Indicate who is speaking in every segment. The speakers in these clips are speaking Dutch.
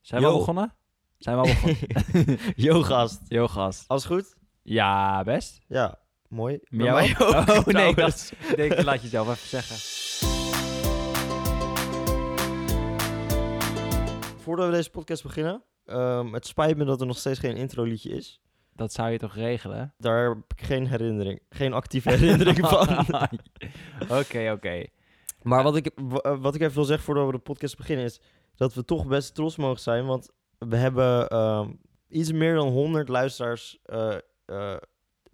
Speaker 1: Zijn we al
Speaker 2: Yo.
Speaker 1: begonnen? Zijn we al begonnen?
Speaker 2: Yo, gast.
Speaker 1: Yo, gast.
Speaker 2: Alles goed?
Speaker 1: Ja, best.
Speaker 2: Ja, mooi. Bij
Speaker 1: Miauw.
Speaker 2: mij ook,
Speaker 1: Oh nee, ik
Speaker 2: trouwens.
Speaker 1: dacht, ik denk, laat jezelf even zeggen.
Speaker 2: Voordat we deze podcast beginnen, ehm, het spijt me dat er nog steeds geen introliedje is.
Speaker 1: Dat zou je toch regelen?
Speaker 2: Daar heb ik geen herinnering, geen actieve herinnering van.
Speaker 1: Oké, oké.
Speaker 2: Maar wat ik, w- eh, wat ik even wil zeggen voordat we de podcast beginnen is dat we toch best trots mogen zijn. Want we hebben ehm, iets meer dan 100 luisteraars eh, eh,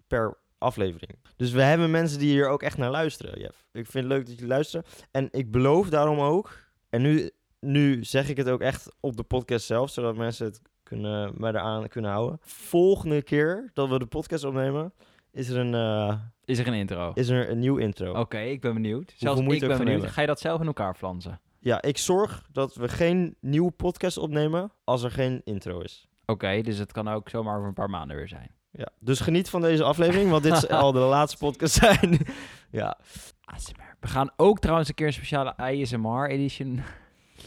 Speaker 2: per aflevering. Dus we hebben mensen die hier ook echt naar luisteren, Jeff. Ik vind het leuk dat jullie luisteren. En ik beloof daarom ook, en nu, nu zeg ik het ook echt op de podcast zelf, zodat mensen het kunnen, mij eraan kunnen houden. Volgende keer dat we de podcast opnemen, is er een, eh,
Speaker 1: Is er een intro?
Speaker 2: is er een nieuw intro.
Speaker 1: Oké, ik ben benieuwd. Zelfs ik
Speaker 2: moeite
Speaker 1: ben
Speaker 2: ook van
Speaker 1: benieuwd.
Speaker 2: hebben.
Speaker 1: Ga je dat zelf in elkaar flansen?
Speaker 2: Ja, ik zorg dat we geen nieuwe podcast opnemen als er geen intro is.
Speaker 1: Oké, dus het kan ook zomaar over een paar maanden weer zijn.
Speaker 2: Ja. Dus geniet van deze aflevering, want dit is al de laatste podcast zijn. ja.
Speaker 1: ASMR. We gaan ook trouwens een keer een speciale ASMR edition.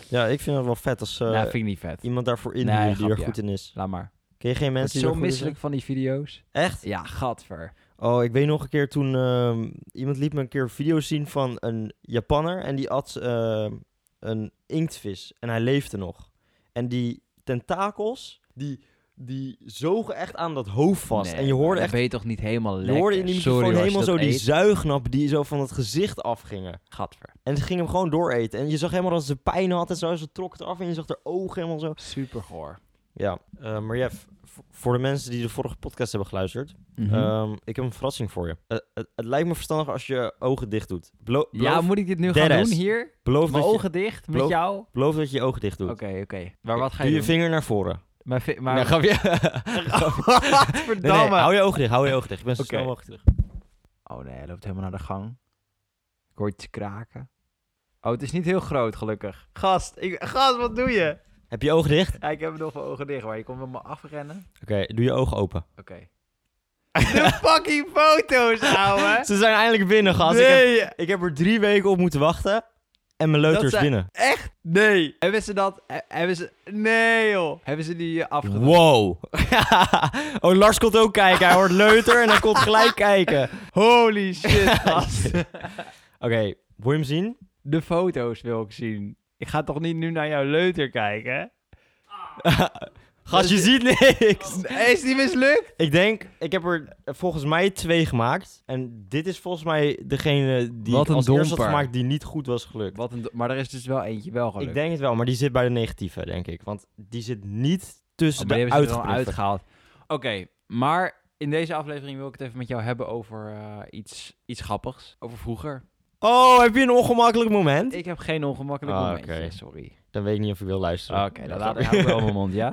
Speaker 2: ja, ik vind het wel vet als eh,
Speaker 1: nou, vind ik niet vet.
Speaker 2: iemand daarvoor in
Speaker 1: Nee,
Speaker 2: die er
Speaker 1: grapje.
Speaker 2: goed in is.
Speaker 1: Laat maar.
Speaker 2: Ken je geen
Speaker 1: Ik word
Speaker 2: mensen die
Speaker 1: zo
Speaker 2: er goed in zijn?
Speaker 1: misselijk van die video's.
Speaker 2: Echt?
Speaker 1: Ja, gadver.
Speaker 2: Oh, ik weet nog een keer toen... ehm, iemand liet me een keer video's zien van een Japanner en die at ehm, een inktvis. En hij leefde nog. En die tentakels, die, die zogen echt aan dat hoofd vast.
Speaker 1: Nee,
Speaker 2: en je
Speaker 1: maar
Speaker 2: hoorde
Speaker 1: dan
Speaker 2: echt
Speaker 1: ben je toch niet helemaal lekker?
Speaker 2: Je hoorde in die
Speaker 1: Sorry,
Speaker 2: microfoon
Speaker 1: hoor, als je
Speaker 2: helemaal zo
Speaker 1: dat
Speaker 2: die
Speaker 1: eet.
Speaker 2: zuignappen die zo van het gezicht afgingen.
Speaker 1: Gadver.
Speaker 2: En ze gingen hem gewoon dooreten. En je zag helemaal dat ze pijn had en zo. Ze trok het af en je zag haar ogen helemaal zo.
Speaker 1: Super goor.
Speaker 2: Ja, eh, maar Jeff, v- voor de mensen die de vorige podcast hebben geluisterd.
Speaker 1: Mhm.
Speaker 2: ehm, ik heb een verrassing voor je. Eh, het, het lijkt me verstandig als je je ogen dicht doet. Belo-
Speaker 1: ja,
Speaker 2: beloof,
Speaker 1: moet ik dit nu
Speaker 2: dead
Speaker 1: gaan
Speaker 2: ass.
Speaker 1: doen hier?
Speaker 2: beloof, dat
Speaker 1: Mijn
Speaker 2: je,
Speaker 1: ogen dicht, met
Speaker 2: beloof-
Speaker 1: jou? Oké,
Speaker 2: beloof dat je je ogen dicht doet.
Speaker 1: oké. Maar wat ga je
Speaker 2: Doe
Speaker 1: doen?
Speaker 2: je vinger naar voren.
Speaker 1: Mijn Oh, vi- maar...
Speaker 2: Nee, grapje. Nee, nee,
Speaker 1: Verdamme.
Speaker 2: hou je ogen dicht, hou je ogen dicht. Ik ben zo
Speaker 1: Oké.
Speaker 2: snel mogelijk terug.
Speaker 1: Oh nee, hij loopt helemaal naar de gang. Ik hoor iets kraken. Oh, het is niet heel groot, gelukkig. Gast, ik... gast, wat doe je?
Speaker 2: Heb je ogen dicht?
Speaker 1: Ja, ik heb nog mijn ogen dicht, maar je komt me afrennen.
Speaker 2: Oké, doe je ogen open.
Speaker 1: Oké. De fucking foto's, ouwe!
Speaker 2: Ze zijn eindelijk binnen, gast. Ik heb-
Speaker 1: Nee,
Speaker 2: Ik heb er drie weken op moeten wachten. En mijn
Speaker 1: Dat
Speaker 2: leuter is
Speaker 1: zijn-
Speaker 2: binnen.
Speaker 1: nee. Hebben ze dat? he- Hebben ze... Nee, joh. Hebben ze die eh, afgedaan?
Speaker 2: Wow. oh, Lars komt ook kijken. Hij hoort leuter en hij komt gelijk kijken. Oké,
Speaker 1: Holy shit, gast.
Speaker 2: wil je hem zien?
Speaker 1: De foto's wil ik zien. Ik ga toch niet nu naar jouw leuter kijken?
Speaker 2: Gast, je ziet niks.
Speaker 1: Is die mislukt?
Speaker 2: Ik denk, ik heb er volgens mij twee gemaakt. En dit is volgens mij degene die
Speaker 1: Wat
Speaker 2: ik
Speaker 1: een
Speaker 2: als eerste had
Speaker 1: domper.
Speaker 2: gemaakt die niet goed was gelukt.
Speaker 1: Wat een, maar er is dus wel eentje wel gelukt.
Speaker 2: Ik denk het wel, maar die zit bij de negatieve, denk ik. Want die zit niet tussen
Speaker 1: Oh, maar die
Speaker 2: de
Speaker 1: hebben ze er dan
Speaker 2: uitgeproefde.
Speaker 1: uitgehaald. Oké, maar in deze aflevering wil ik het even met jou hebben over eh, iets, iets grappigs. Over vroeger.
Speaker 2: Oh, heb je een ongemakkelijk moment?
Speaker 1: Ik heb geen ongemakkelijk
Speaker 2: Ah,
Speaker 1: momentje,
Speaker 2: oké.
Speaker 1: sorry.
Speaker 2: Dan weet ik niet of ik wil
Speaker 1: Oké,
Speaker 2: luisteren.
Speaker 1: dan laat ik hou ik wel mijn mond, ja?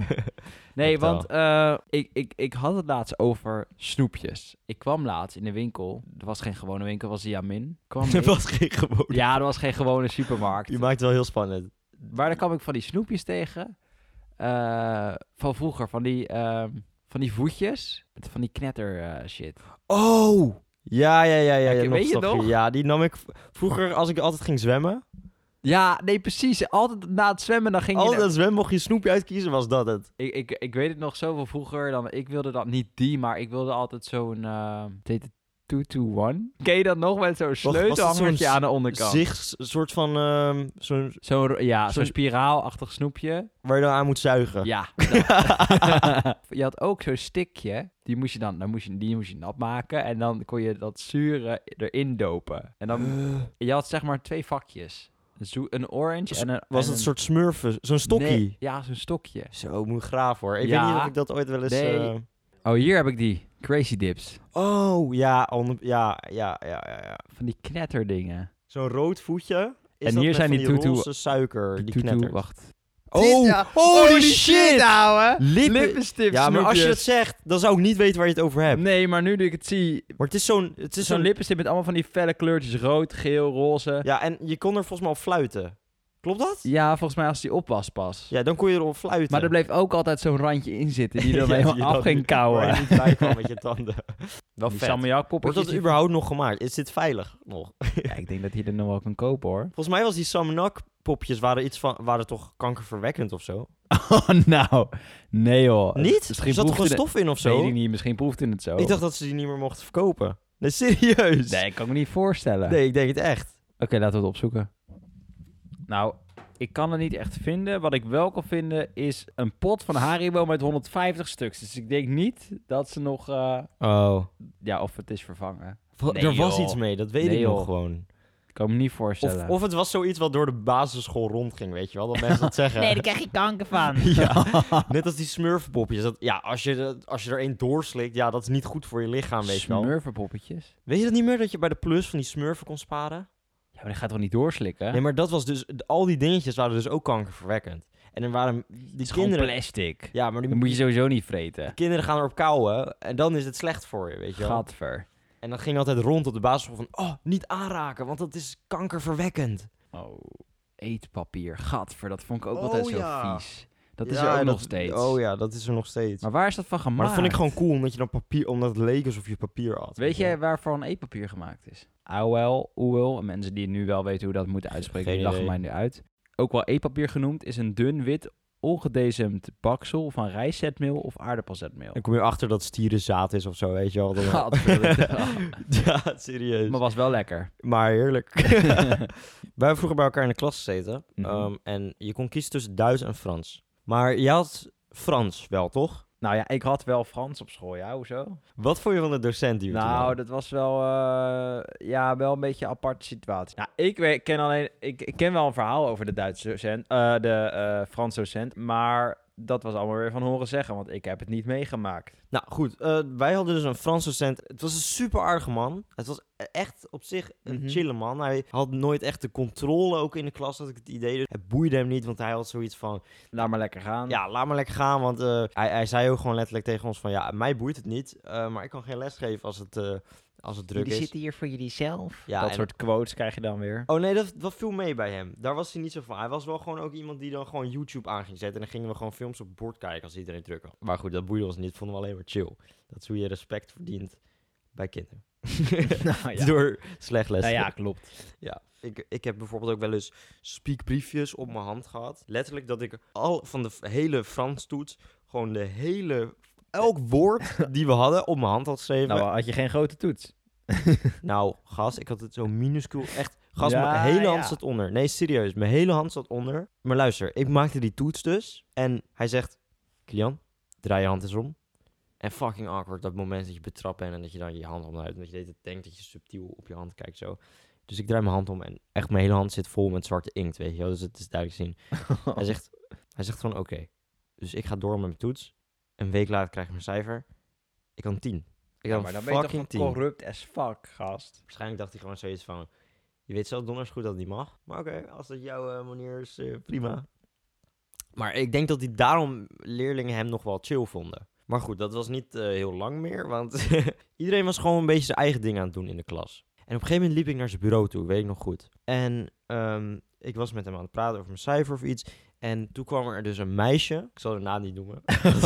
Speaker 1: Nee,
Speaker 2: Vertel.
Speaker 1: want eh, ik, ik, ik had het laatst over snoepjes. Ik kwam laatst in de winkel. Er was geen gewone winkel, was de Jamin. Kwam
Speaker 2: Er
Speaker 1: ik-
Speaker 2: was geen gewoon.
Speaker 1: Ja, er was geen gewone supermarkt.
Speaker 2: Je maakt het wel heel spannend.
Speaker 1: Maar daar kwam ik van die snoepjes tegen. eh, van vroeger, van die, ehm, van die voetjes. Met van die knetter eh, shit.
Speaker 2: Oh! Ja, ja, ja, ja.
Speaker 1: Oké,
Speaker 2: ja
Speaker 1: weet je
Speaker 2: stapje.
Speaker 1: nog?
Speaker 2: Ja, die nam ik v- vroeger als ik altijd ging zwemmen.
Speaker 1: Ja, nee, precies. Altijd na het zwemmen, dan ging je...
Speaker 2: Altijd dat zwemmen mocht je snoepje uitkiezen, was dat het.
Speaker 1: Ik, ik, ik weet het nog zoveel vroeger dan... Ik wilde dat niet die, maar ik wilde altijd zo'n... eh het heette 221. Ken je dat nog met zo'n
Speaker 2: was dat
Speaker 1: sleutelhangertje
Speaker 2: zo'n
Speaker 1: aan de onderkant?
Speaker 2: Zicht, een soort van, ehm, zo'n,
Speaker 1: Zo'n ro- ja, zo'n
Speaker 2: zo'n-
Speaker 1: spiraalachtig snoepje.
Speaker 2: waar je dan aan moet zuigen.
Speaker 1: Ja. je had ook zo'n stikje. Die moest je dan, dan moest je, die moest je nat maken. En dan kon je dat zure erin dopen. En dan,
Speaker 2: Eh,
Speaker 1: je had zeg maar twee vakjes. Een, zoe- een orange
Speaker 2: Was-
Speaker 1: en een...
Speaker 2: Was
Speaker 1: en
Speaker 2: het een
Speaker 1: een-
Speaker 2: soort smurfen, zo'n stokkie.
Speaker 1: Nee, ja, zo'n stokje.
Speaker 2: Zo, moet graaf hoor. Ik
Speaker 1: Ja.
Speaker 2: weet niet of ik dat ooit wel eens...
Speaker 1: Nee.
Speaker 2: eh,
Speaker 1: Oh, hier heb ik die. Crazy Dips.
Speaker 2: Oh, ja, on- ja, ja, ja, ja, ja.
Speaker 1: Van die knetterdingen.
Speaker 2: Zo'n rood voetje. Is
Speaker 1: En
Speaker 2: dat
Speaker 1: hier
Speaker 2: met
Speaker 1: zijn
Speaker 2: van
Speaker 1: die
Speaker 2: die
Speaker 1: toetoe-
Speaker 2: roze suiker, die,
Speaker 1: Toetoe,
Speaker 2: knettert.
Speaker 1: wacht.
Speaker 2: Oh,
Speaker 1: Ja,
Speaker 2: holy,
Speaker 1: holy
Speaker 2: shit!
Speaker 1: shit, ouwe!
Speaker 2: Lippen-
Speaker 1: Lippenstift
Speaker 2: Ja, maar als je het
Speaker 1: snoepjes.
Speaker 2: zegt, dan zou ik niet weten waar je het over hebt.
Speaker 1: Nee, maar nu dat ik het zie...
Speaker 2: Maar het is zo'n... Het
Speaker 1: Het
Speaker 2: is
Speaker 1: is zo'n
Speaker 2: zo'n
Speaker 1: lippenstift met allemaal van die felle kleurtjes. Rood, geel, roze.
Speaker 2: Ja, en je kon er volgens mij op fluiten. Klopt dat?
Speaker 1: Ja, volgens mij als die op was pas.
Speaker 2: Ja, dan kon je erop fluiten.
Speaker 1: Maar er bleef ook altijd zo'n randje in zitten die er
Speaker 2: Ja,
Speaker 1: helemaal
Speaker 2: die
Speaker 1: af
Speaker 2: dat-
Speaker 1: ging
Speaker 2: Waar je
Speaker 1: kouwen.
Speaker 2: niet bij kwam met je tanden. Wel
Speaker 1: Die
Speaker 2: vet. Wordt
Speaker 1: salmiakpoppetjes.
Speaker 2: dat
Speaker 1: die-
Speaker 2: überhaupt nog gemaakt? Is dit veilig nog?
Speaker 1: Ja, ik denk dat hij er nog wel kan kopen hoor.
Speaker 2: Volgens mij was die Samnak popjes waren, iets van, waren toch kankerverwekkend of zo?
Speaker 1: Oh, nou. Nee, joh.
Speaker 2: Niet? Er
Speaker 1: Misschien
Speaker 2: zat toch
Speaker 1: proefde
Speaker 2: gewoon
Speaker 1: het-
Speaker 2: stof in of
Speaker 1: Weet
Speaker 2: zo?
Speaker 1: ik niet. Misschien proefde het zo.
Speaker 2: Ik dacht dat ze die niet meer mochten verkopen. Nee, serieus?
Speaker 1: Nee, ik kan me niet voorstellen.
Speaker 2: Nee, ik denk het echt.
Speaker 1: Oké, laten we het opzoeken. Nou, ik kan het niet echt vinden. Wat ik wel kan vinden is een pot van Haribo met 150 stuks. Dus ik denk niet dat ze nog... eh,
Speaker 2: Oh.
Speaker 1: ja, of het is vervangen. Nee,
Speaker 2: er was
Speaker 1: joh.
Speaker 2: iets mee, dat weet
Speaker 1: Nee,
Speaker 2: ik nog
Speaker 1: joh.
Speaker 2: gewoon.
Speaker 1: Ik kan me niet
Speaker 2: Of,
Speaker 1: voorstellen.
Speaker 2: of het was zoiets wat door de basisschool rondging, weet je wel? Dat mensen dat zeggen.
Speaker 1: krijg je kanker van.
Speaker 2: ja, net als die smurfpopjes. Dat, ja, als je, de- als je er één doorslikt, ja, dat is niet goed voor je lichaam, weet je wel.
Speaker 1: Smurfenpoppetjes.
Speaker 2: Weet je dat niet meer, dat je bij de plus van die smurfen kon sparen?
Speaker 1: Ja, maar die gaat toch niet doorslikken?
Speaker 2: Nee, maar dat was dus... d- Al die dingetjes waren dus ook kankerverwekkend. En er waren die
Speaker 1: het is gewoon
Speaker 2: kinderen...
Speaker 1: plastic.
Speaker 2: Ja, maar die,
Speaker 1: Dat moet je sowieso niet vreten.
Speaker 2: die kinderen gaan erop kauwen en dan is het slecht voor je, weet je wel.
Speaker 1: Gadver.
Speaker 2: En dat ging altijd rond op de basisschool van... Oh, niet aanraken, want dat is kankerverwekkend.
Speaker 1: Oh, eetpapier. Gadver, dat vond ik ook
Speaker 2: Oh,
Speaker 1: altijd zo
Speaker 2: ja.
Speaker 1: vies. Dat is
Speaker 2: Ja,
Speaker 1: er ook
Speaker 2: en
Speaker 1: nog steeds.
Speaker 2: Oh ja, dat is er nog steeds.
Speaker 1: Maar waar is dat van gemaakt?
Speaker 2: Maar dat vond ik gewoon cool, omdat je dan papier... Omdat het leek alsof je papier had.
Speaker 1: Weet jij waarvan eetpapier gemaakt is? AOL, OEL, en mensen die nu wel weten hoe dat moeten uitspreken,
Speaker 2: Geen
Speaker 1: die lachen
Speaker 2: idee.
Speaker 1: mij nu uit. Ook wel eetpapier genoemd, is een dun wit, ongedezemd baksel van rijstzetmeel of aardappelzetmeel.
Speaker 2: Dan kom je achter dat stierenzaad is of zo, weet je wel. Dan-
Speaker 1: Gadverdamme.
Speaker 2: ja, serieus.
Speaker 1: maar
Speaker 2: Maar,
Speaker 1: was wel lekker.
Speaker 2: heerlijk. Wij hebben vroeger bij elkaar in de klas gezeten.
Speaker 1: Mhm.
Speaker 2: ehm, en je kon kiezen tussen Duits en Frans. Maar je had Frans wel, toch?
Speaker 1: nou ja, ik had wel Frans op school, ja, hoezo?
Speaker 2: Wat vond je van de docent die we toen
Speaker 1: Nou,
Speaker 2: hadden?
Speaker 1: dat was wel, eh, ja, wel een beetje een aparte situatie. Nou, ik we- ken alleen, ik, ik ken wel een verhaal over de Duitse docent, eh, de eh Franse docent, maar dat was allemaal weer van horen zeggen, want ik heb het niet meegemaakt.
Speaker 2: Nou goed, eh, wij hadden dus een Frans docent. Het was een super aardige man. Het was e- echt op zich een
Speaker 1: Mhm.
Speaker 2: chille man. Hij had nooit echt de controle ook in de klas, had ik het idee. Dus het boeide hem niet, want hij had zoiets van...
Speaker 1: Laat maar lekker gaan.
Speaker 2: Ja, laat maar lekker gaan, want eh, hij, hij zei ook gewoon letterlijk tegen ons van... Ja, mij boeit het niet, eh, maar ik kan geen les geven als het, eh, als het druk is.
Speaker 1: hier voor jullie zelf.
Speaker 2: Ja,
Speaker 1: dat
Speaker 2: en-
Speaker 1: soort quotes krijg je dan weer.
Speaker 2: Oh nee, dat, dat viel mee bij hem. Daar was hij niet zo van. Hij was wel gewoon ook iemand die dan gewoon YouTube aan ging zetten. En dan gingen we gewoon films op bord kijken als iedereen druk had. Maar goed, dat boeide ons niet. Vonden we alleen maar chill. Dat is hoe je respect verdient bij kinderen.
Speaker 1: nou,
Speaker 2: Door slecht les.
Speaker 1: Nou ja, klopt.
Speaker 2: Ja. Ik, ik heb bijvoorbeeld ook wel eens speakbriefjes op mijn hand gehad. Letterlijk dat ik al van de f- hele Frans toets gewoon de hele... Elk woord die we hadden op mijn hand had geschreven.
Speaker 1: Nou,
Speaker 2: Nou,
Speaker 1: had je geen grote toets.
Speaker 2: gas, ik had het zo minuscuul. Echt, gas,
Speaker 1: Ja,
Speaker 2: mijn hele hand
Speaker 1: ja.
Speaker 2: zat onder. Nee, serieus, mijn hele hand zat onder. Maar luister, ik maakte die toets dus. En hij zegt, Kilian, draai je hand eens om. En fucking awkward, dat moment dat je betrapt bent en dat je dan je hand omhoudt. En dat je de hele tijd denkt dat je subtiel op je hand kijkt zo. Dus ik draai mijn hand om en echt mijn hele hand zit vol met zwarte inkt, weet je wel. Dus het is duidelijk te zien.
Speaker 1: Oh.
Speaker 2: Hij zegt, hij zegt gewoon, oké. Dus ik ga door met mijn toets. Een week later krijg ik mijn cijfer. Ik had een 10. Ik
Speaker 1: Nou,
Speaker 2: had
Speaker 1: maar
Speaker 2: een
Speaker 1: dan ben je toch
Speaker 2: fucking
Speaker 1: gewoon
Speaker 2: 10.
Speaker 1: corrupt as fuck, gast.
Speaker 2: Waarschijnlijk dacht hij gewoon zoiets van... Je weet zelf donders goed dat het niet mag. Maar oké, als dat jouw eh, manier is, eh, prima. Maar ik denk dat die daarom leerlingen hem nog wel chill vonden. Maar goed, dat was niet eh, heel lang meer. Want iedereen was gewoon een beetje zijn eigen ding aan het doen in de klas. En op een gegeven moment liep ik naar zijn bureau toe, weet ik nog goed. En ehm, ik was met hem aan het praten over mijn cijfer of iets. En toen kwam er dus een meisje. Ik zal haar naam niet noemen.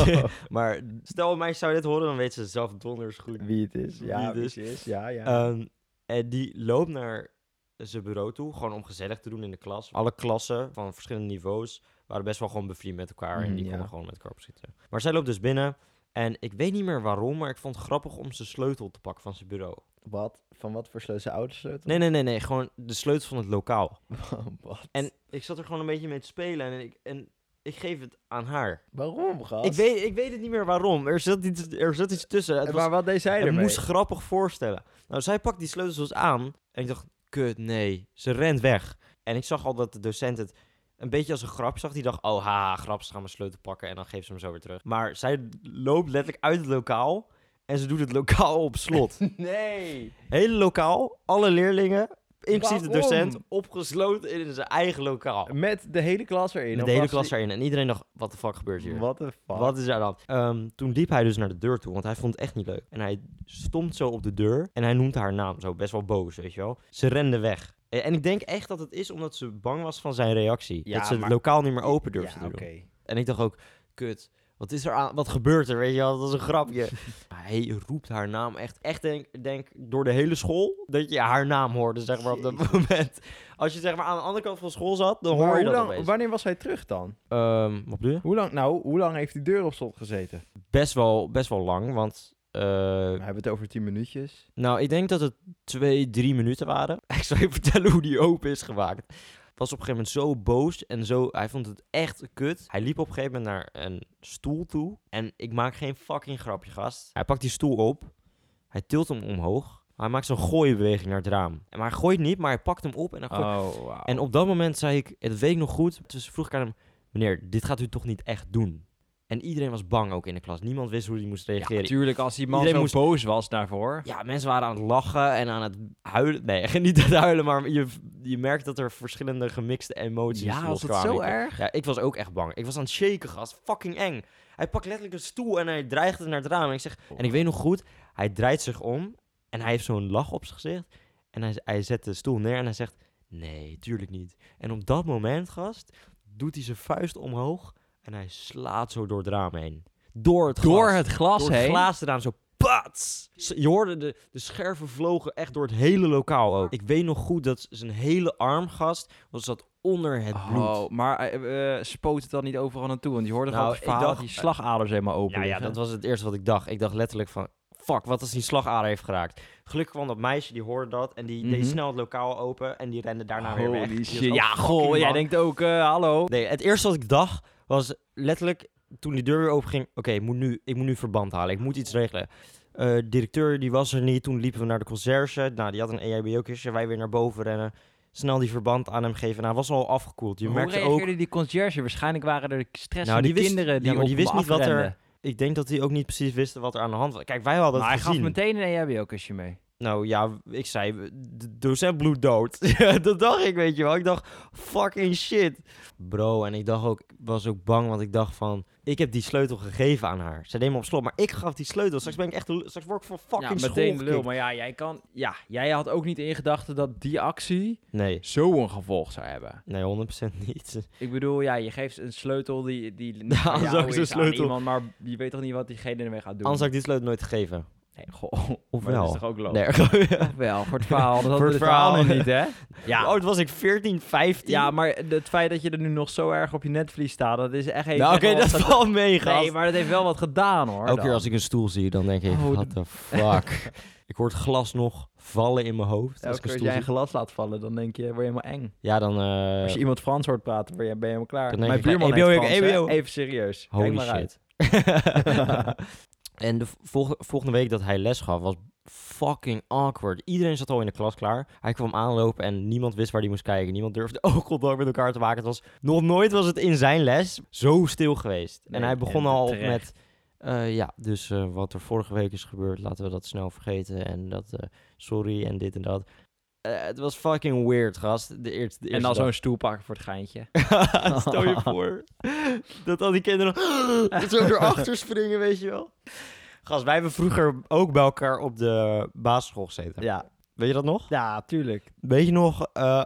Speaker 2: maar stel een meisje zou dit horen, dan weet ze zelf donders goed
Speaker 1: Wie het is.
Speaker 2: ja, Wie
Speaker 1: Ja,
Speaker 2: het
Speaker 1: wie
Speaker 2: wie is.
Speaker 1: het is. Ja, ja.
Speaker 2: Ehm, en die loopt naar zijn bureau toe, gewoon om gezellig te doen in de klas. Alle klassen van verschillende niveaus waren best wel gewoon bevriend met elkaar en
Speaker 1: Mm,
Speaker 2: die
Speaker 1: ja.
Speaker 2: konden gewoon met elkaar opschieten. Maar zij loopt dus binnen en ik weet niet meer waarom, maar ik vond het grappig om zijn sleutel te pakken van zijn bureau.
Speaker 1: wat? Van wat voor sleutel? Zijn autosleutel?
Speaker 2: Nee, nee, nee, nee, gewoon de sleutel van het lokaal.
Speaker 1: wat?
Speaker 2: En ik zat er gewoon een beetje mee te spelen en ik, en ik geef het aan haar.
Speaker 1: Waarom, gast?
Speaker 2: Ik weet, ik weet het niet meer waarom. Er zat iets, er zat iets tussen. Het was
Speaker 1: maar wat deed zij
Speaker 2: Het
Speaker 1: ermee?
Speaker 2: moest grappig voorstellen. Nou, zij pakt die sleutels aan. En ik dacht, kut, nee. Ze rent weg. En ik zag al dat de docent het een beetje als een grap zag. Die dacht, oh, haha, grap, ze gaan mijn sleutel pakken. En dan geeft ze hem zo weer terug. Maar zij loopt letterlijk uit het lokaal. En ze doet het lokaal op slot.
Speaker 1: Nee.
Speaker 2: Hele lokaal, alle leerlingen, inclusief de
Speaker 1: Waarom?
Speaker 2: docent, opgesloten in zijn eigen lokaal.
Speaker 1: Met de hele klas erin.
Speaker 2: Met
Speaker 1: of
Speaker 2: de hele
Speaker 1: was
Speaker 2: klas
Speaker 1: die-
Speaker 2: erin. En iedereen dacht, wat de fuck gebeurt hier?
Speaker 1: What the fuck?
Speaker 2: Wat is er dan? toen liep hij dus naar de deur toe, want hij vond het echt niet leuk. En hij stond zo op de deur en hij noemde haar naam, zo best wel boos, weet je wel. Ze rende weg. E- En ik denk echt dat het is omdat ze bang was van zijn reactie.
Speaker 1: Ja,
Speaker 2: dat ze
Speaker 1: maar-
Speaker 2: het lokaal niet meer open durfde
Speaker 1: ja,
Speaker 2: te doen.
Speaker 1: oké.
Speaker 2: En ik dacht ook, kut, Wat is er aan? Wat gebeurt er? Weet je wel, dat is een grapje. Hij roept haar naam echt. Echt denk, denk door de hele school dat je haar naam hoorde, zeg maar, op dat moment. Als je zeg maar aan de andere kant van school zat, dan hoor
Speaker 3: Maar hoe
Speaker 2: je dat
Speaker 3: lang,
Speaker 2: opeens.
Speaker 3: wanneer was hij terug dan?
Speaker 2: Ehm, wat bedoel je?
Speaker 3: Hoe lang, nou, hoe lang heeft die deur op slot gezeten?
Speaker 2: Best wel, best wel lang, want... eh,
Speaker 3: We hebben het over 10 minuutjes.
Speaker 2: Nou, ik denk dat het twee, drie minuten waren. Ik zal je vertellen hoe die open is gemaakt. Was op een gegeven moment zo boos en zo. Hij vond het echt kut. Hij liep op een gegeven moment naar een stoel toe. En ik maak geen fucking grapje, gast. Hij pakt die stoel op. Hij tilt hem omhoog. Hij maakt zo'n gooibeweging naar het raam. En Maar hij gooit niet, maar hij pakt hem op en dan gooit.
Speaker 3: Oh, wauw.
Speaker 2: En op dat moment zei ik, het weet ik nog goed. Dus vroeg ik aan hem, meneer, dit gaat u toch niet echt doen? En iedereen was bang ook in de klas. Niemand wist hoe hij moest reageren.
Speaker 1: natuurlijk, als die man
Speaker 2: Iedereen
Speaker 1: zo
Speaker 2: moest-
Speaker 1: boos was daarvoor.
Speaker 2: Ja, mensen waren aan het lachen en aan het huilen. Nee, niet aan het huilen, maar je, je merkt dat er verschillende gemixte emoties
Speaker 1: Ja, was dat
Speaker 2: loskwamen.
Speaker 1: zo
Speaker 2: Ik-
Speaker 1: erg?
Speaker 2: Ja, ik was ook echt bang. Ik was aan het shaken, gast. Fucking eng. Hij pakt letterlijk een stoel en hij dreigt het naar het raam. En ik zeg, en ik weet nog goed, hij draait zich om en hij heeft zo'n lach op zijn gezicht. En hij, hij zet de stoel neer en hij zegt, nee, tuurlijk niet. En op dat moment, gast, doet hij zijn vuist omhoog en hij slaat zo door het raam heen. Door het
Speaker 1: Door
Speaker 2: glas
Speaker 1: het glas
Speaker 2: door het
Speaker 1: heen.
Speaker 2: glazen raam zo pats. Ze- Je hoorde de, de scherven vlogen echt door het hele lokaal ook. Ik weet nog goed dat zijn hele armgast was zat onder het bloed.
Speaker 1: Oh, maar eh, eh, spoot het dan niet overal naartoe? Want je hoorde
Speaker 2: Nou,
Speaker 1: gewoon het
Speaker 2: ik
Speaker 1: verhaal dat
Speaker 2: dacht-
Speaker 1: die slagaders helemaal open
Speaker 2: Ja, ja,
Speaker 1: liggen.
Speaker 2: dat was het eerste wat ik dacht. Ik dacht letterlijk van, fuck, wat als die slagader heeft geraakt? Gelukkig kwam dat meisje, die hoorde dat en die
Speaker 1: Mhm.
Speaker 2: deed snel het lokaal open en die rende daarna weer weg. Die
Speaker 1: Holy
Speaker 2: was
Speaker 1: shit.
Speaker 2: ook
Speaker 1: Ja,
Speaker 2: fucking
Speaker 1: goh, jij
Speaker 2: bang.
Speaker 1: denkt ook, eh, hallo.
Speaker 2: Nee, het eerste wat ik dacht was letterlijk toen die deur weer open ging. Oké, ik, moet nu- ik moet nu verband halen. Ik moet iets regelen. Eh, de directeur die was er niet. Toen liepen we naar de conciërge. Nou, die had een EHBO-kistje. Wij weer naar boven rennen. Snel die verband aan hem geven. Nou, hij was al afgekoeld. Je
Speaker 1: Hoe
Speaker 2: merkte
Speaker 1: reageerde
Speaker 2: ook.
Speaker 1: die conciërge? Waarschijnlijk waren er stress
Speaker 2: Nou,
Speaker 1: die,
Speaker 2: die wist-
Speaker 1: kinderen die
Speaker 2: ja, maar die
Speaker 1: op hem
Speaker 2: wist niet wat er-
Speaker 1: afrenden.
Speaker 2: Ik denk dat hij ook niet precies wist wat er aan de hand was. Kijk, wij hadden
Speaker 1: Maar hij
Speaker 2: het
Speaker 1: gaf
Speaker 2: gezien.
Speaker 1: meteen een E EHBO-kusje mee.
Speaker 2: Nou ja, ik zei, de docent bloed dood. dat dacht ik, weet je wel. Ik dacht, fucking shit. Bro, en ik dacht ook, ik was ook bang, want ik dacht van, ik heb die sleutel gegeven aan haar. Ze deed me op slot, maar ik gaf die sleutel. Straks ben ik echt, een lul- straks word ik van fucking
Speaker 1: ja,
Speaker 2: school
Speaker 1: meteen lul.
Speaker 2: gekikt.
Speaker 1: Maar ja, jij kan... Ja, jij had ook niet in gedachten dat die actie
Speaker 2: Nee,
Speaker 1: zo'n gevolg zou hebben.
Speaker 2: nee, 100% niet.
Speaker 1: Ik bedoel, ja, je geeft een sleutel die, die niet
Speaker 2: Ja,
Speaker 1: van
Speaker 2: als
Speaker 1: jou
Speaker 2: ook
Speaker 1: is
Speaker 2: zo'n
Speaker 1: aan
Speaker 2: sleutel.
Speaker 1: iemand, maar je weet toch niet wat diegene ermee gaat doen?
Speaker 2: Anders had ik die sleutel nooit gegeven.
Speaker 1: Nee, goh.
Speaker 2: Of
Speaker 1: Maar dat is
Speaker 2: wel?
Speaker 1: toch ook logisch?
Speaker 2: Nee,
Speaker 1: Wel, voor het verhaal. Dat hadden we
Speaker 2: Voor het
Speaker 1: het verhaal nog
Speaker 2: verhaal.
Speaker 1: niet, hè?
Speaker 2: Oh, dat was ik 14, 15.
Speaker 1: Ja, maar het feit dat je er nu nog zo erg op je netvlies staat, dat is echt... heeft
Speaker 2: nou,
Speaker 1: echt
Speaker 2: oké,
Speaker 1: wel
Speaker 2: dat
Speaker 1: wat geda-
Speaker 2: valt mee, gast.
Speaker 1: Nee, maar dat heeft wel wat gedaan, hoor.
Speaker 2: Elke keer
Speaker 1: dan.
Speaker 2: als ik een stoel zie, dan denk ik,
Speaker 1: Oh,
Speaker 2: what the fuck. ik hoor het glas nog vallen in mijn hoofd. als
Speaker 1: Elke
Speaker 2: ik een
Speaker 1: keer als
Speaker 2: stoel
Speaker 1: jij een
Speaker 2: zie.
Speaker 1: glas laat vallen, dan denk je, word je helemaal eng.
Speaker 2: Ja, dan... eh,
Speaker 1: Als je iemand Frans hoort praten, ben je, ben je helemaal klaar.
Speaker 2: Dan denk
Speaker 1: Mijn
Speaker 2: ik, ja,
Speaker 1: buurman
Speaker 2: EBO,
Speaker 1: heeft Frans, hè?
Speaker 2: EBO.
Speaker 1: Even serieus.
Speaker 2: Holy
Speaker 1: Kijk maar
Speaker 2: shit.
Speaker 1: uit.
Speaker 2: en de volg- volgende week dat hij les gaf, was fucking awkward. Iedereen zat al in de klas klaar. Hij kwam aanlopen en niemand wist waar hij moest kijken. Niemand durfde oogcontact met elkaar te maken. Het was, nog nooit was het in zijn les zo stil geweest.
Speaker 1: Nee,
Speaker 2: en hij begon
Speaker 1: en
Speaker 2: al
Speaker 1: terecht.
Speaker 2: met... eh, ja, dus eh, wat er vorige week is gebeurd, laten we dat snel vergeten. En dat, eh, sorry en dit en dat. Eh, het was fucking weird, gast. De eerste, de
Speaker 1: En dan
Speaker 2: eerste dag.
Speaker 1: zo'n stoel pakken voor het geintje.
Speaker 2: Stel je voor dat al die kinderen zo erachter springen, weet je wel. Gast, wij hebben vroeger ook bij elkaar op de basisschool gezeten.
Speaker 1: Ja,
Speaker 2: Weet je dat nog?
Speaker 1: ja tuurlijk.
Speaker 2: Weet je nog... eh,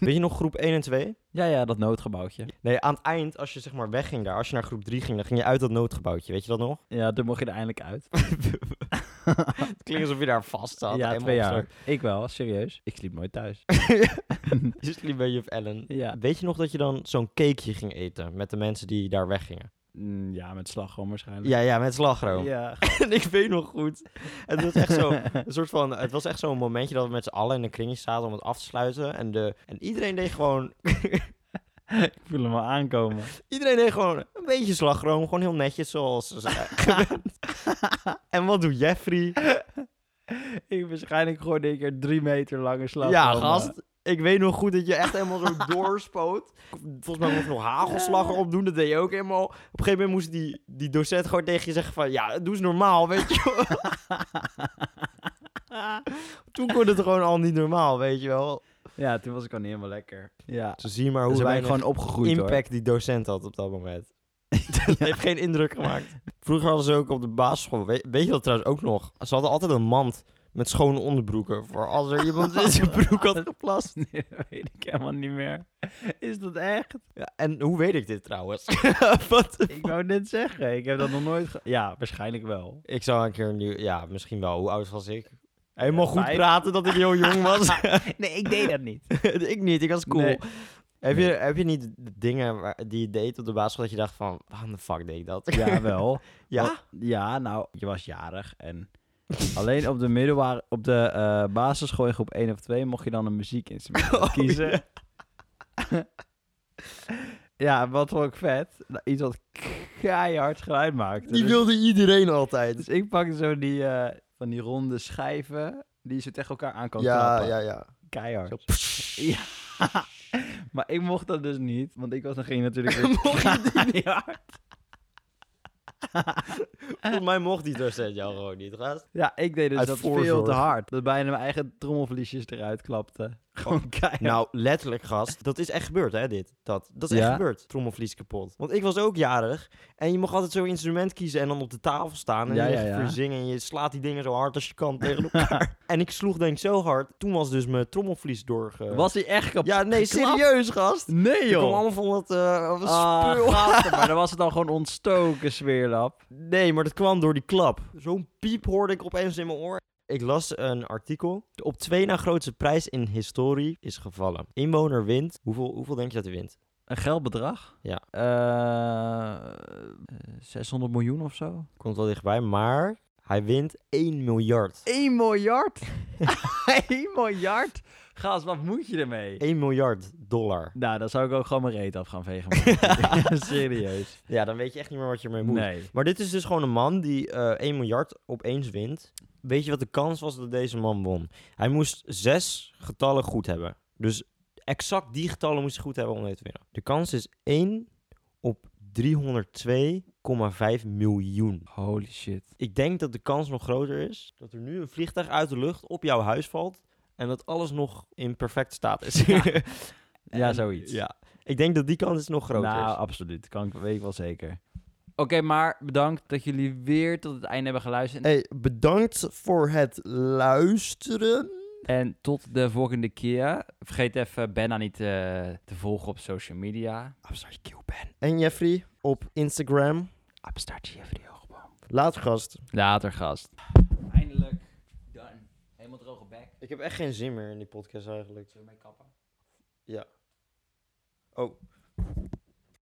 Speaker 2: weet je nog groep 1 en 2?
Speaker 1: Ja, ja, dat noodgebouwtje.
Speaker 2: Nee, aan het eind, als je zeg maar wegging daar, als je naar groep 3 ging, dan ging je uit dat noodgebouwtje. Weet je dat nog?
Speaker 1: Ja, toen mocht je er eindelijk uit.
Speaker 2: Het klinkt alsof je daar vast zat.
Speaker 1: ja,
Speaker 2: helemaal
Speaker 1: twee jaar.
Speaker 2: opgesloten.
Speaker 1: Ik wel, serieus. Ik sliep nooit thuis.
Speaker 2: Je sliep bij juf Ellen.
Speaker 1: ja.
Speaker 2: Weet je nog dat je dan zo'n cakeje ging eten met de mensen die daar weggingen?
Speaker 1: Mm, Ja, met slagroom waarschijnlijk.
Speaker 2: Ja, ja, met slagroom.
Speaker 1: Ja.
Speaker 2: En ik weet nog goed. Het was echt zo, een soort van, het was echt zo'n momentje dat we met z'n allen in een kringje zaten om het af te sluiten. En, de, en iedereen deed gewoon,
Speaker 1: Ik voel hem al aankomen.
Speaker 2: iedereen deed gewoon een beetje slagroom. Gewoon heel netjes zoals ze zijn gewend. En wat doet Jeffrey?
Speaker 1: ik waarschijnlijk gooide ik er drie meter lange slagroom. eh.
Speaker 2: ja, gast. Ik weet nog goed dat je echt helemaal zo doorspoot. Volgens mij moest je nog hagelslag erop doen. Dat deed je ook helemaal. Op een gegeven moment moest die, die docent gewoon tegen je zeggen van... Ja, doe eens normaal, weet je wel. Toen kon het gewoon al niet normaal, weet je wel.
Speaker 1: Ja, toen was ik al niet helemaal lekker. Ja.
Speaker 2: Ze zien maar
Speaker 1: Hoe
Speaker 2: hoe
Speaker 1: zijn wij
Speaker 2: weinig
Speaker 1: gewoon opgegroeid
Speaker 2: impact die docent had op dat moment. Dat heeft geen indruk gemaakt. Vroeger hadden ze ook op de basisschool, weet, weet je dat trouwens ook nog? Ze hadden altijd een mand met schone onderbroeken. Voor als er iemand in zijn broek had geplast.
Speaker 1: Nee, dat weet ik helemaal niet meer. Is dat echt?
Speaker 2: Ja, en hoe weet ik dit trouwens? Wat?
Speaker 1: Ik wou net zeggen, ik heb dat nog nooit... ge- ja, waarschijnlijk wel.
Speaker 2: Ik zou een keer nu, ja, misschien wel. Hoe oud was ik? Helemaal goed
Speaker 1: Eh, vijf.
Speaker 2: praten dat ik heel jong was.
Speaker 1: Nee, ik deed dat niet.
Speaker 2: ik niet, ik was cool.
Speaker 1: Nee.
Speaker 2: Heb,
Speaker 1: Nee.
Speaker 2: Je, heb je niet de dingen waar- die je deed op de basisschool dat je dacht van, waarom de fuck deed ik dat?
Speaker 1: Ja, wel.
Speaker 2: Ja?
Speaker 1: Wat- ja, nou, je was jarig en... Alleen op de middelbare, op de eh, basisschool in groep 1 of 2 mocht je dan een muziekinstrument kiezen. Ja. wat vond ik vet? Nou, iets wat keihard geluid maakte.
Speaker 2: Die
Speaker 1: Dus-
Speaker 2: wilde iedereen altijd.
Speaker 1: Dus ik pakte zo die, eh, van die ronde schijven die je zo tegen elkaar aan kan
Speaker 2: Ja,
Speaker 1: trappen.
Speaker 2: ja, ja. Zo,
Speaker 1: Keihard. Ja. maar ik mocht dat dus niet, want ik was degene natuurlijk weer keihard.
Speaker 2: Volgens mij mocht die docent jou gewoon niet, gast.
Speaker 1: Ja, ik deed dus
Speaker 2: Uit
Speaker 1: dat veel
Speaker 2: voorzorg.
Speaker 1: te hard. Dat bijna mijn eigen trommelvliesjes eruit klapte. Gewoon keihard.
Speaker 2: Nou, letterlijk, gast. Dat is echt gebeurd, hè, dit. Dat, dat is
Speaker 1: Ja.
Speaker 2: echt gebeurd. Trommelvlies kapot. Want ik was ook jarig. En je mag altijd zo'n instrument kiezen en dan op de tafel staan. En
Speaker 1: Ja,
Speaker 2: je
Speaker 1: ja,
Speaker 2: gaat
Speaker 1: ja.
Speaker 2: verzingen en je slaat die dingen zo hard als je kan tegen elkaar. en ik sloeg denk ik zo hard. Toen was dus mijn trommelvlies doorge...
Speaker 1: was hij echt kapot?
Speaker 2: Ja, nee,
Speaker 1: geklapt?
Speaker 2: serieus, gast.
Speaker 1: Nee
Speaker 2: Ik kwam
Speaker 1: joh!
Speaker 2: allemaal van dat eh, wat
Speaker 1: Ah,
Speaker 2: spul.
Speaker 1: gasten, maar dan was het dan gewoon ontstoken, sfeerlap.
Speaker 2: Nee, maar dat kwam door die klap. Zo'n piep hoorde ik opeens in mijn oor. Ik las een artikel. De op twee na grootste prijs in historie is gevallen. Inwoner wint. Hoeveel, hoeveel denk je dat hij wint?
Speaker 1: Een geldbedrag?
Speaker 2: Ja.
Speaker 1: Eh, eh, 600 miljoen of zo?
Speaker 2: Komt wel dichtbij, maar hij wint 1 miljard.
Speaker 1: 1 miljard? 1 miljard? Gast, wat moet je ermee?
Speaker 2: 1 miljard dollar.
Speaker 1: Nou, dan zou ik ook gewoon mijn reet af gaan vegen. man. Serieus.
Speaker 2: Ja, dan weet je echt niet meer wat je ermee moet.
Speaker 1: Nee.
Speaker 2: Maar dit is dus gewoon een man die eh 1 miljard opeens wint. Weet je wat de kans was dat deze man won? Hij moest zes getallen goed hebben. Dus exact die getallen moest hij goed hebben om mee te winnen. De kans is 1 op 302,5 miljoen.
Speaker 1: Holy shit.
Speaker 2: Ik denk dat de kans nog groter is dat er nu een vliegtuig uit de lucht op jouw huis valt. En dat alles nog in perfect staat is.
Speaker 1: Ja, Ja,
Speaker 2: En-
Speaker 1: zoiets.
Speaker 2: Ja. Ik denk dat die kans is nog groter
Speaker 1: nou,
Speaker 2: is.
Speaker 1: absoluut. Kan ik, weet ik wel zeker. Oké, maar bedankt dat jullie weer tot het einde hebben geluisterd.
Speaker 2: Hey, bedankt voor het luisteren.
Speaker 1: En tot de volgende keer. Vergeet even Benna niet eh, te volgen op social media. Abstart QBen.
Speaker 2: En Jeffrey op Instagram.
Speaker 1: Abstart Jeffrey Hoogboom.
Speaker 2: Laat gast.
Speaker 1: Later, gast. Eindelijk. Done. Helemaal droge bek.
Speaker 2: Ik heb echt geen zin meer in die podcast eigenlijk.
Speaker 1: Zullen we mee kappen?
Speaker 2: Oh.